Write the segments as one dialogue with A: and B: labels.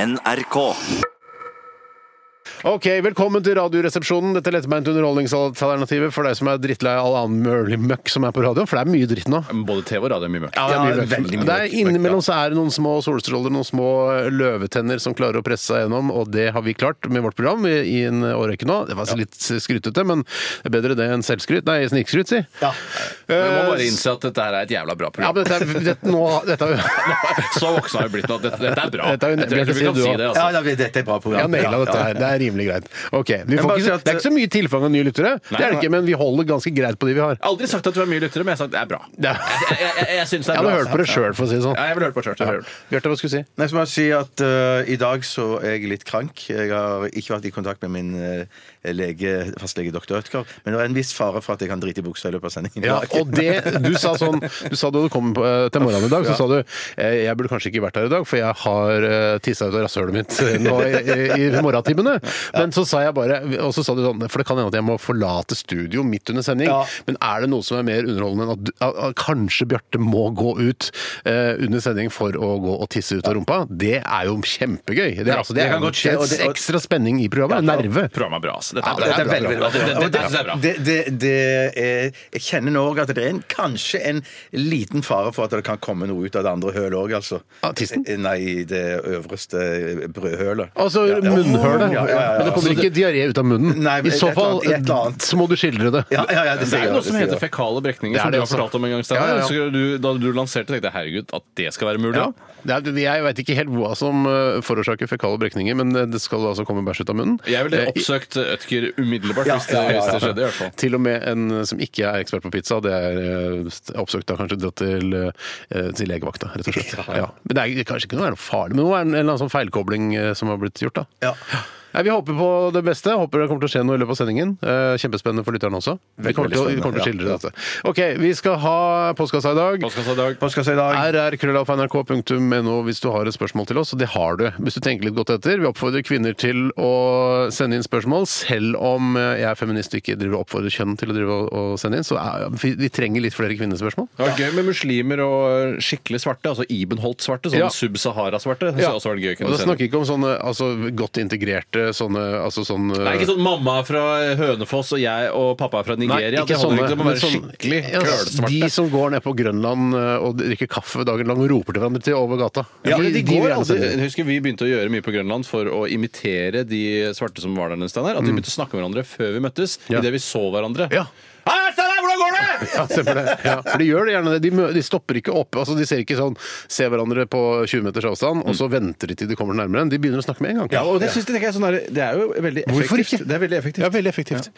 A: NRK.
B: Ok, Velkommen til Radioresepsjonen. Dette er lettbeint underholdningsalternativet for deg som er drittlei av all annen mulig møkk som er på radioen, for det er mye dritt nå.
C: Både TV og radio er mye mørkt.
B: Ja, det er mye møkk.
C: veldig mye
B: Det er
C: mørkt.
B: Innimellom så er det noen små solstråler, noen små løvetenner som klarer å presse seg gjennom, og det har vi klart med vårt program i i en årrekke nå. Det var litt skrytete, men det er bedre det enn selvskryt. Nei, snikskryt, si. Ja.
C: Men vi må bare innse at dette her er et jævla
B: ja,
C: bra program.
B: men dette er, dette, nå, dette er jo
C: Så voksne har vi blitt nå at dette, dette er bra.
B: Dette er jo-
C: jeg tror ikke vi kan
B: du
C: si
B: også.
C: det,
D: Ja,
C: altså.
D: da, dette er et bra program.
B: Jeg har naila
D: Ja,
B: dette
D: ja.
B: her. Det er rimelig greit. Ok, vi
D: bare
B: får
D: si
B: ikke,
D: at-
B: Det er ikke så mye tilfang av nye lyttere, det er det ikke, men vi holder ganske greit på de vi har.
C: Jeg har aldri sagt at du har mye lyttere, men jeg har sagt at det er bra.
B: Ja.
C: Jeg, jeg, jeg, jeg syns det
B: Jeg
C: er bra. altså.
B: hadde hørt på det sjøl, for å si det sånn.
C: Ja, jeg vil høre på det sjøl.
B: Bjarte, hva skulle du si?
D: Nei, så må jeg si at eh, I dag så er jeg litt krank. Jeg har ikke vært i kontakt med min eh, lege, fastlege dr. Ødgar, men det er en viss fare for at jeg kan drite i buksa i løpet av sendingen. i
B: Ja,
D: dag.
B: og det, Du sa sånn Du sa da du kom på- til morgenen i dag, så sa du eh, jeg burde kanskje ikke vært her i dag, for jeg har tissa ut av rasshølet mitt eh, nå i, i, i morgentimene. Men så sa jeg bare Og så sa du sånn For det kan hende at jeg må forlate studio midt under sending.
D: Ja.
B: Men er det noe som er mer underholdende enn at, du- at, at kanskje Bjarte må gå ut eh, under sending for å gå og tisse ut av rumpa? Det er jo kjempegøy. Det, er- altså, det
D: det
B: er
D: kan
B: jo
D: godt skje,
B: en
D: og det- og-
B: ekstra spenning i programmet. Nerve.
C: Programmet er bra, altså. Dette
B: Ja,
C: er bra.
B: dette er
C: Dette
B: veldig
C: bra. Dette- dette-
D: Og
C: dette synes jeg er bra.
D: det, det, det er, jeg kjenner nå også at det er en, kanskje en liten fare for at det kan komme noe ut av det andre hølet òg, altså.
B: Ah, tissen?
D: Nei, det øverste eh, brødhølet.
B: Altså
D: Ja, ja.
B: munnhølet.
D: Ja, ja, ja, ja.
B: Men det kommer ikke diaré ut av munnen.
D: Nei, men
B: I så
D: et eller
B: fall
D: annet- i et eller annet.
B: så må du skildre det.
D: Ja, ja, ja, det,
C: Det
D: sier
C: er
D: jeg,
C: jo noe som
D: sier
C: heter
D: jeg.
C: fekale
B: Det
C: brekninger,
B: er
C: som du
B: det
C: har
B: også.
C: fortalt om en gang. Steinar.
B: Ja, ja, ja.
C: Husker du- Da du lanserte, tenkte jeg herregud, at det skal være mulig?
B: Ja. Det er, jeg veit ikke helt hva som eh, forårsaker fekale brekninger, men det skal altså komme bæsj ut av munnen.
C: Jeg ville
B: Eh,
C: oppsøkt Ødker umiddelbart
D: Ja,
C: hvis, det,
D: ja, ja, ja.
C: hvis det skjedde, i hvert fall.
B: Til og med en som ikke er ekspert på pizza, det er eh, oppsøkt da kanskje dratt til, eh, til legevakta, rett og slett. Ja. Men det er kanskje ikke noe, er noe farlig, men det må være en, en eller annen sånn feilkobling eh, som har blitt gjort, da.
D: Ja.
B: Nei, Vi håper på det beste. Håper det kommer til å skje noe i løpet av sendingen. Eh, Kjempespennende for lytterne også. Vi kommer til, å- vi kommer til å skildre
D: Ja.
B: dette. Ok, vi skal ha postkassa i dag.
C: Postkassa i dag.
D: Postkassa i dag.
B: rr.nrk.no hvis du har et spørsmål til oss, og det har du. Hvis du tenker litt godt etter. Vi oppfordrer kvinner til å sende inn spørsmål, selv om eh, jeg er feminist og ikke driver og oppfordrer kjønn til å drive og- og sende inn. Så er, vi, vi trenger litt flere kvinnespørsmål.
C: Det var gøy med muslimer og skikkelig svarte, altså Ibenholt-svarte, sånn
B: Ja.
C: Sub-Sahara-svarte. Det synes jeg også var gøy å
B: og
C: kunne
B: da
C: se.
B: snakker vi ikke om sånne altså, godt integrerte sånne, altså, sånn,
C: Det er ikke sånn mamma er fra Hønefoss og jeg og pappa er fra Nigeria.
B: Nei, ikke
C: det holder
B: sånne,
C: ikke, det må
B: men
C: være
B: sånn-
C: skikkelig
B: Ja, De
C: kølsvarte.
B: som går ned på Grønland eh, og drikker kaffe dagen lang og roper til hverandre til over gata.
C: Ja, de,
B: vil
C: går
B: gjerne
C: aldri,
B: sende inn.
C: jeg husker Vi begynte å gjøre mye på Grønland for å imitere de svarte som var der. en sted her, At vi begynte å snakke med hverandre før vi møttes.
B: Ja.
C: Idet vi så hverandre.
B: Ja.
C: Hei, Steinar, hvordan går det?!
B: Ja, stemmer det. Ja. For de gjør det gjerne det. De, mø- de stopper ikke opp. altså De ser ikke sånn, ser hverandre på 20 meters avstand, og så venter de til de kommer nærmere. De begynner å snakke med en gang.
C: Mm. Ja, og det, synes jeg, tenker jeg, sånn der, det er jo veldig effektivt.
B: Hvorfor ikke?
C: Det er veldig effektivt.
B: Ja, veldig effektivt.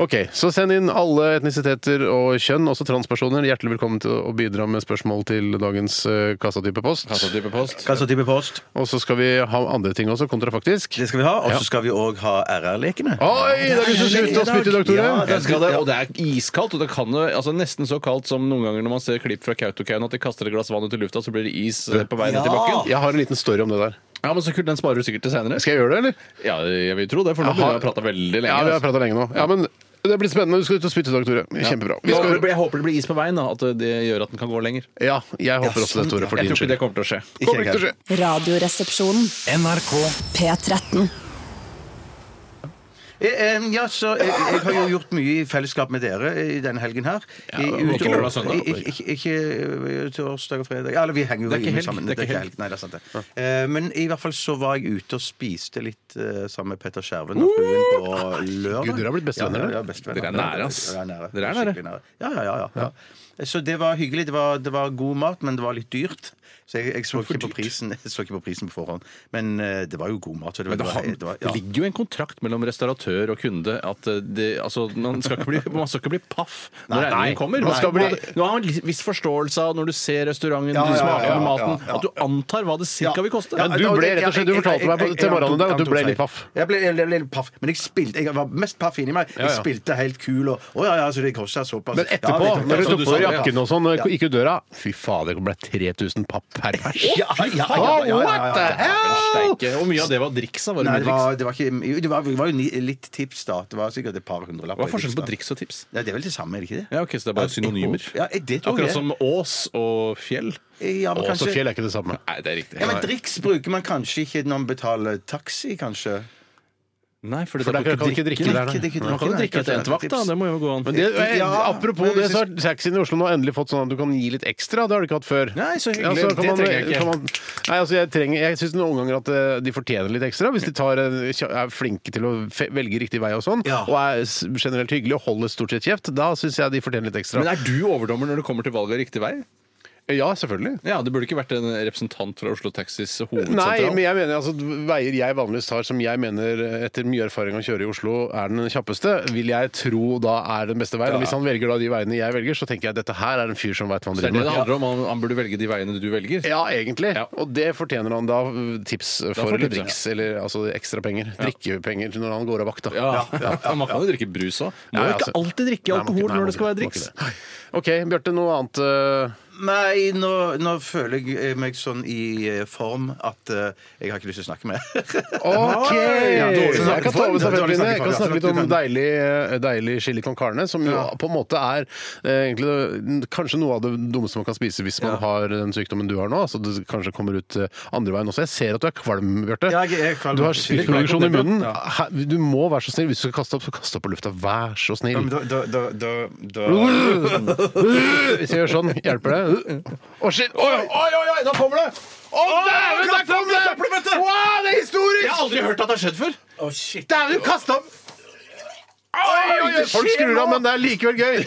B: Ok, Så send inn alle etnisiteter og kjønn, også transpersoner. Hjertelig velkommen til å bidra med spørsmål til dagens eh, kassatype post.
C: Kassatype post.
D: Hva slags type post?
B: Og så skal vi ha andre ting også, kontrafaktisk.
D: Det skal vi ha. Og så skal vi òg ha RR-lekene.
B: Oi, det er du som skal ut og spytte i dag, Tore!
D: Ja,
C: Jeg skal det, og det er iskaldt. og det kan jo, altså Nesten så kaldt som noen ganger når man ser klipp fra Kautokeino at de kaster et glass vann ut i lufta, så blir det is eh, på vei ned til
D: Ja.
C: bakken.
B: Jeg har en liten story om det der.
C: Ja, men så kult, Den sparer du sikkert til seinere.
B: Skal jeg gjøre det, eller?
C: Ja, jeg vil tro det, for nå
B: Jeg
C: har
B: har-
C: jeg prata veldig lenge.
B: Ja, vi har
C: altså.
B: prata lenge nå. Ja, men det blir spennende. Du skal ut og spytte i dag, Tore. Kjempebra. Vi
C: Jeg håper det
B: skal...
C: blir- jeg håper det blir is på veien, da, at det gjør at den kan gå lenger.
B: Ja, jeg håper også det, Tore, for din
C: Jeg tror ikke
B: skyld.
C: det kommer til å skje.
B: Kommer ikke til å skje.
E: Radioresepsjonen.
A: NRK.
E: P13.
D: Eh, eh, Ja, så jeg, jeg har jo gjort mye i fellesskap med dere eh, i denne helgen her. I,
C: det var ikke
D: utover-
C: lørdag og søndag.
D: I- Ikke, ikke, ikke torsdag og fredag. Eller vi henger jo
C: Det er ikke
D: mye
C: helg.
D: sammen.
C: Det er ikke helg.
D: Nei, det er sant det. Eh, Men i hvert fall så var jeg ute og spiste litt eh, sammen med Petter Skjerven og fruen på lørdag.
B: Gud, dere har blitt bestevenner,
D: Ja,
B: dere.
D: ja, ja, bestevenner.
C: Dere er nære, ass.
D: Dere er nære.
C: Dere er nære.
D: Skikkelig Ja, ja, ja. ja. ja. Så det var hyggelig. Det var, det var god mat, men det var litt dyrt. Så jeg, jeg, så ikke på prisen, jeg så ikke på prisen på forhånd. Men eh, det var jo god mat. Så det var,
C: Men det, har,
D: det var, ja.
C: det ligger jo en kontrakt mellom restauratør og kunde at eh, det, altså, man, skal ikke bli, man skal ikke bli paff når regningen kommer.
B: man skal bli-
C: nå har man en viss forståelse av når du ser restauranten,
D: Ja,
C: du
D: ja,
C: smaker
D: ja,
C: på
D: ja,
C: maten,
D: ja.
C: at du antar hva det cirka vil koste.
D: Ja,
B: Men du
D: og-
B: ble rett og slett- du
D: jeg- jeg-
B: fortalte meg
D: jeg-
B: til
D: jeg-
B: morgenen i dag at
D: han
B: du
D: tok
B: ble
D: feil.
B: litt paff.
D: Jeg ble jeg ble litt paff, men jeg spilte Jeg var mest paff inni meg. Jeg
B: ja.
D: spilte helt kul og Å ja, ja, så det kosta såpass.
B: Men
D: Ja,
B: etterpå,
D: vet du,
B: når du
D: som
B: tok
D: sa,
B: på
D: ja.
B: jakken og sånn, og gikk ut døra Fy fader, det ble 3000 papp per pers.
D: Ja, ja, ja, ja, ja, ja, ja,
B: What the hell?
C: steike. Hvor mye av det var driks? da? Var det
D: Nei,
C: mye
D: det
C: driks?
D: var, det var ikke jo, det var, det var jo ni- litt tips, da. Det var sikkert et par hundrelapper.
C: Hva er forskjellen på
D: da.
C: driks og tips?
D: Nei, det er vel det samme, er det ikke det?
C: Ja, ok, Så det er bare synonymer?
D: Ja, det tror
C: Akkurat
D: jeg.
C: som ås og fjell?
D: Ja,
B: Og
D: men
B: så
D: kanskje-
B: fjell er ikke det samme.
C: Nei, det er riktig.
D: Ja, men Driks bruker man kanskje ikke når man betaler taxi, kanskje.
C: Nei, fordi
B: For
C: da
B: der kan du ikke drikke der,
D: Drikke, drikke,
B: nei.
C: Man kan jo
D: nei,
C: drikke etter
D: kanskje
C: endt vakt, da.
D: tips.
C: Det må jo gå an.
B: Men det, eh,
D: Ja,
B: apropos
D: men
B: det,
D: hvis
B: så har taxien i Oslo nå endelig fått sånn at du kan gi litt ekstra. Det har du ikke hatt før.
D: Nei, så hyggelig.
B: Ja, så kan
D: Det
B: man-
D: trenger jeg ikke.
B: kan man- nei, altså jeg, trenger- jeg syns noen ganger at eh, de fortjener litt ekstra, hvis de tar, en- er flinke til å fe- velge riktig vei og sånn,
D: Ja.
B: og er s- generelt hyggelige og holder stort sett kjeft. Da syns jeg de fortjener litt ekstra.
C: Men er du overdommer når det kommer til valg av riktig vei?
B: ja, selvfølgelig.
C: Ja, Det burde ikke vært en representant fra Oslo Taxis
B: Nei,
C: hovedsentral.
B: men jeg mener altså veier jeg vanligvis tar som jeg mener etter mye erfaring å kjøre i Oslo er den kjappeste, vil jeg tro da er den beste veien. Og hvis han velger da de veiene jeg velger, så tenker jeg at dette her er en fyr som veit hva han
C: Så det er det det
B: driver med.
C: handler om. Han, han burde velge de veiene du velger.
B: Ja, egentlig.
C: Ja.
B: Og det fortjener han da uh, tips for,
C: får
B: eller
C: tips, ja.
B: driks, eller altså ekstra penger. Drikkepenger når han går av vakta.
C: Ja, ja, Man kan jo drikke brus òg. Må
B: Nei,
C: jo
B: altså-
C: ikke alltid drikke
B: Nei, man må
C: alkohol
B: ikke- nei, man
C: når det skal
B: må
C: være
B: ikke-
C: driks.
B: man må ikke det. OK, Bjarte, noe annet uh,
D: Nei, nå, nå føler jeg meg sånn i eh, form at eh, jeg har ikke lyst til å snakke mer.
B: OK!
D: Ja, dårlig
B: jeg kan ta over
D: snakkeform.
B: stafettpinnen. Jeg
D: Dårlig snakkeform,
B: kan
D: ja.
B: snakke litt om
D: Du kan-
B: deilig, eh, deilig chili con carne, som jo på en måte er eh, egentlig det- kanskje noe av det dummeste man kan spise hvis man har den sykdommen du har nå. Så det kanskje kommer ut eh, andre veien også. Jeg ser at du er kvalm, Bjarte.
D: Ja, jeg er kvalm.
B: Du har
D: Litt
B: spyttproduksjon i
D: kvalm.
B: munnen.
D: Ja.
B: Hæ, Du må være så snill. Hvis du skal kaste opp, så kast opp på lufta. Vær så
D: Ja,
B: snill.
D: men da, da, da, da, da.
B: Hvis jeg gjør sånn, hjelper det? Å, shit! Oi, oi, oi, oi, nå kommer det! Å, dæven, der kom det! Wow, det er historisk!
C: aldri hørt at det har skjedd før.
D: Å, shit.
B: Dæven, du kasta opp! Oi, oi, oi, Folk skrur av, men det er likevel gøy.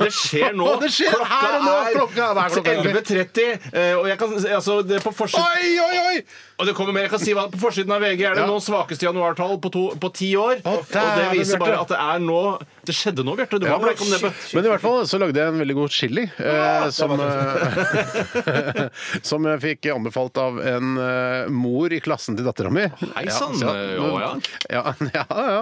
C: Det skjer nå.
B: Å, det skjer her og nå. Klokka er- hva er klokka?
C: 11.30. eh, Og jeg kan, altså, det er på forsiden,
B: Oi, oi, oi!
C: og det kommer mer. Jeg kan si hva På forsiden av VG er det
B: Ja.
C: nå svakeste januartall på, to, på ti år.
B: Å,
C: og det
B: dæven,
C: viser bare
B: Bjarte.
C: at det er nå Det skjedde nå, Bjarte. Du må ha blekk om det. på-
B: Men i hvert fall så lagde jeg en veldig god chili, eh, som, eh, som jeg fikk anbefalt av en eh, mor i klassen til dattera mi.
C: Hei sann, eh, å ja.
B: ja, ja, ja.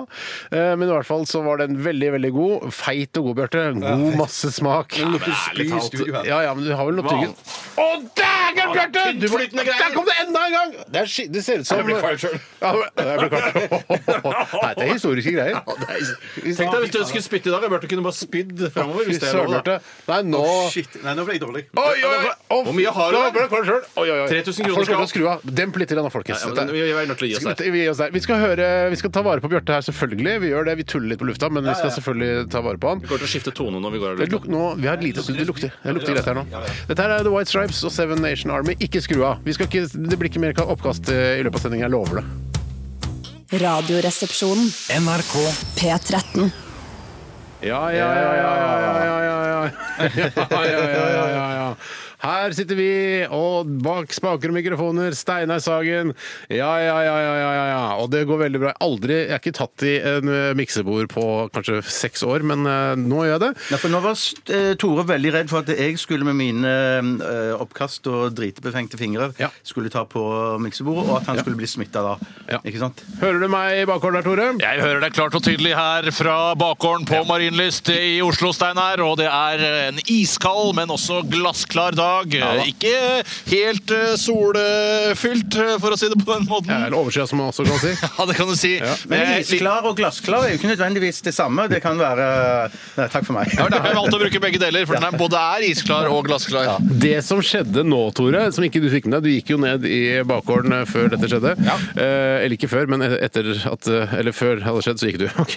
B: Eh, Men i hvert fall så var den veldig, veldig god. Feit og god, Bjarte. God masse smak.
C: Ærlig talt.
B: Ja, ja, men du har vel noe tygget? Å, dægen, Bjarte! Du var- Der kom det enda en gang! Det, er, ski- det ser ut som eh,
C: Jeg blir kvalm selv.
B: Ja, men- jeg blir kvalm. Nei, det er historiske greier.
C: Tenk deg hvis du skulle spytte i dag. Bjarte kunne bare spydd framover.
B: Fy
C: Hvis det er
B: søren,
C: lov, da.
B: Bjarte. Nei, nå
D: Shit. Nei, nå ble jeg dårlig.
B: Oi, oi, oi! Å,
C: Hvor mye har du?
B: da ble jeg kvalm selv. Oi, oi, oi.
C: 3000 kroner
B: Folk kommer til å
C: skal-
B: skru av. Demp litt, grann, folkens.
C: Ja, men
B: Dette-
C: vi- vi er nødt til å gi oss
B: Skal-
C: der.
B: vi gir oss der. Vi skal, høre, vi skal ta vare på Bjarte her, selvfølgelig. Vi gjør det. Vi tuller litt på lufta, men vi skal selvfølgelig ta vare på han.
C: Vi kommer til å skifte tone når vi går av
B: Det
C: lufta.
B: luk, nå, vi har et lite stund. Det lukter, det lukter greit her nå. Dette her er The White Stripes og Seven Nation Army. Ikke skru av. Vi skal ikke, det blir ikke mer oppkast eh, i løpet av sendingen. Jeg lover det.
E: Radioresepsjonen.
A: NRK.
E: P13.
B: Ja, ja, ja, ja, ja, ja, ja, ja. ja, ja, ja, ja, ja, ja. Her sitter vi, og bak spaker og mikrofoner, Steinar Sagen. Ja, ja, ja, ja, ja, ja, ja. Og det går veldig bra. Aldri, Jeg er ikke tatt i en eh, miksebord på kanskje seks år, men eh, nå gjør jeg det.
D: Nei, for nå var eh, Tore veldig redd for at jeg skulle med mine eh, oppkast og dritebefengte fingre
B: Ja.
D: skulle ta på miksebordet, og at han skulle bli smitta da.
B: Ja.
D: Ikke sant?
B: Hører du meg i bakhånden her, Tore?
F: Jeg hører deg klart og tydelig her fra bakgården på Marienlyst i Oslo, Steinar. Og det er en iskald, men også glassklar dag. Ikke helt eh, solfylt, eh, for å si det på den måten.
B: Jeg er
F: Ja,
B: litt overskya, som man også kan si.
F: det kan du si.
D: Men
F: Eh, litt-
D: isklar og glassklar er jo ikke nødvendigvis det samme. Det kan være Nei, takk for meg.
F: Ja, derfor har jeg valgt å bruke begge deler, for den er både er isklar og glassklar.
B: Det som skjedde nå, Tore, som ikke du fikk med deg Du gikk jo ned i bakgården før dette skjedde. Eh, eller ikke før, men etter at eh, Eller før det hadde skjedd, så gikk du. Ok.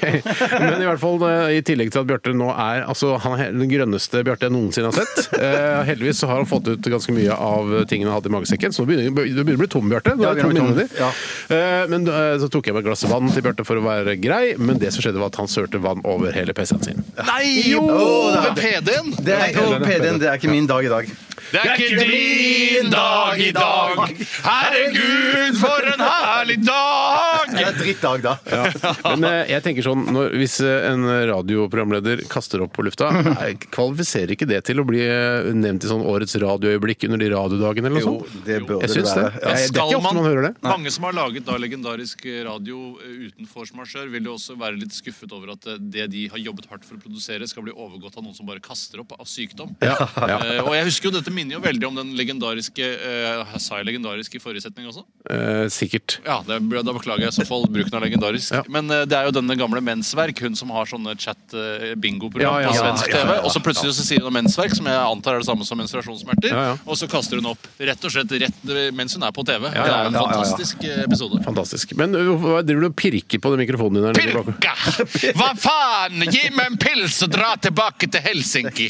B: Men i hvert fall eh, i tillegg til at Bjarte nå er altså, han er den grønneste Bjarte jeg noensinne har sett. Eh, heldigvis så har han fått ut ganske mye av tingene han hadde i magesekken, så nå begynner du begynner å bli tom, Bjarte. Nå
D: Ja,
B: er det tom i
D: begynner å bli
B: munnen din. Eh, men eh, så tok jeg meg et glass vann til Bjarte for å være grei, men det som skjedde, var at han sølte vann over hele PC-en sin.
F: Nei!
B: Jo,
F: Åh,
D: da.
F: med PD-en!
D: Det er, og PD-en, det er ikke min dag i dag.
F: Det er ikke din dag i dag. Herregud, for en herlig dag!
D: er en drittdag, da.
B: Men eh, jeg tenker sånn, når, hvis eh, en radioprogramleder kaster opp på lufta, eh, kvalifiserer ikke det til å bli eh, nevnt i sånn årets radioøyeblikk under de radiodagene eller noe
D: Jo,
B: sånt?
D: det burde
B: Jeg syns det.
D: være. Ja.
B: Jeg- det er ikke ofte man hører det.
C: Mange som har laget da legendarisk radio eh, uten force majeure, vil jo også være litt skuffet over at eh, det de har jobbet hardt for å produsere, skal bli overgått av noen som bare kaster opp av sykdom.
B: ja.
C: Eh, og jeg husker jo dette minner jo veldig om den legendariske eh, Sa jeg legendarisk i forrige setning også?
B: Eh, sikkert.
C: Ja, det, Da beklager jeg i så fall bruken av legendarisk.
B: Ja.
C: Men eh, det er jo denne gamle Mensverk, hun som har sånne
B: Ja,
C: chat-bingo-program
B: ja,
C: på
B: ja,
C: svensk
B: ja, ja, ja.
C: TV. Og så plutselig så sier hun om Mensverk, som jeg antar er det samme som menstruasjonssmerter.
B: Ja, ja.
C: Og så kaster hun opp rett og slett rett mens hun er på TV.
B: ja,
C: Det er en
D: ja, ja, ja.
C: fantastisk eh, episode.
B: Fantastisk. Men uh, hva driver du og pirker på den mikrofonen din? der nede bak?
C: Pirka! Hva faen! Gi meg en pils og dra tilbake til Helsinki!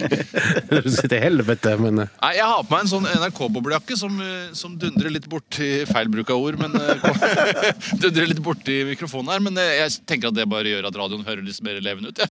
B: Du sier til helvete, men eh,
C: Nei, Jeg har på meg en sånn NRK-boblejakke som, eh, som dundrer litt borti Feil bruk av ord, men eh, kom- Dundrer litt borti mikrofonen her. Men eh, jeg tenker at det bare gjør at radioen hører litt mer levende ut. Ja.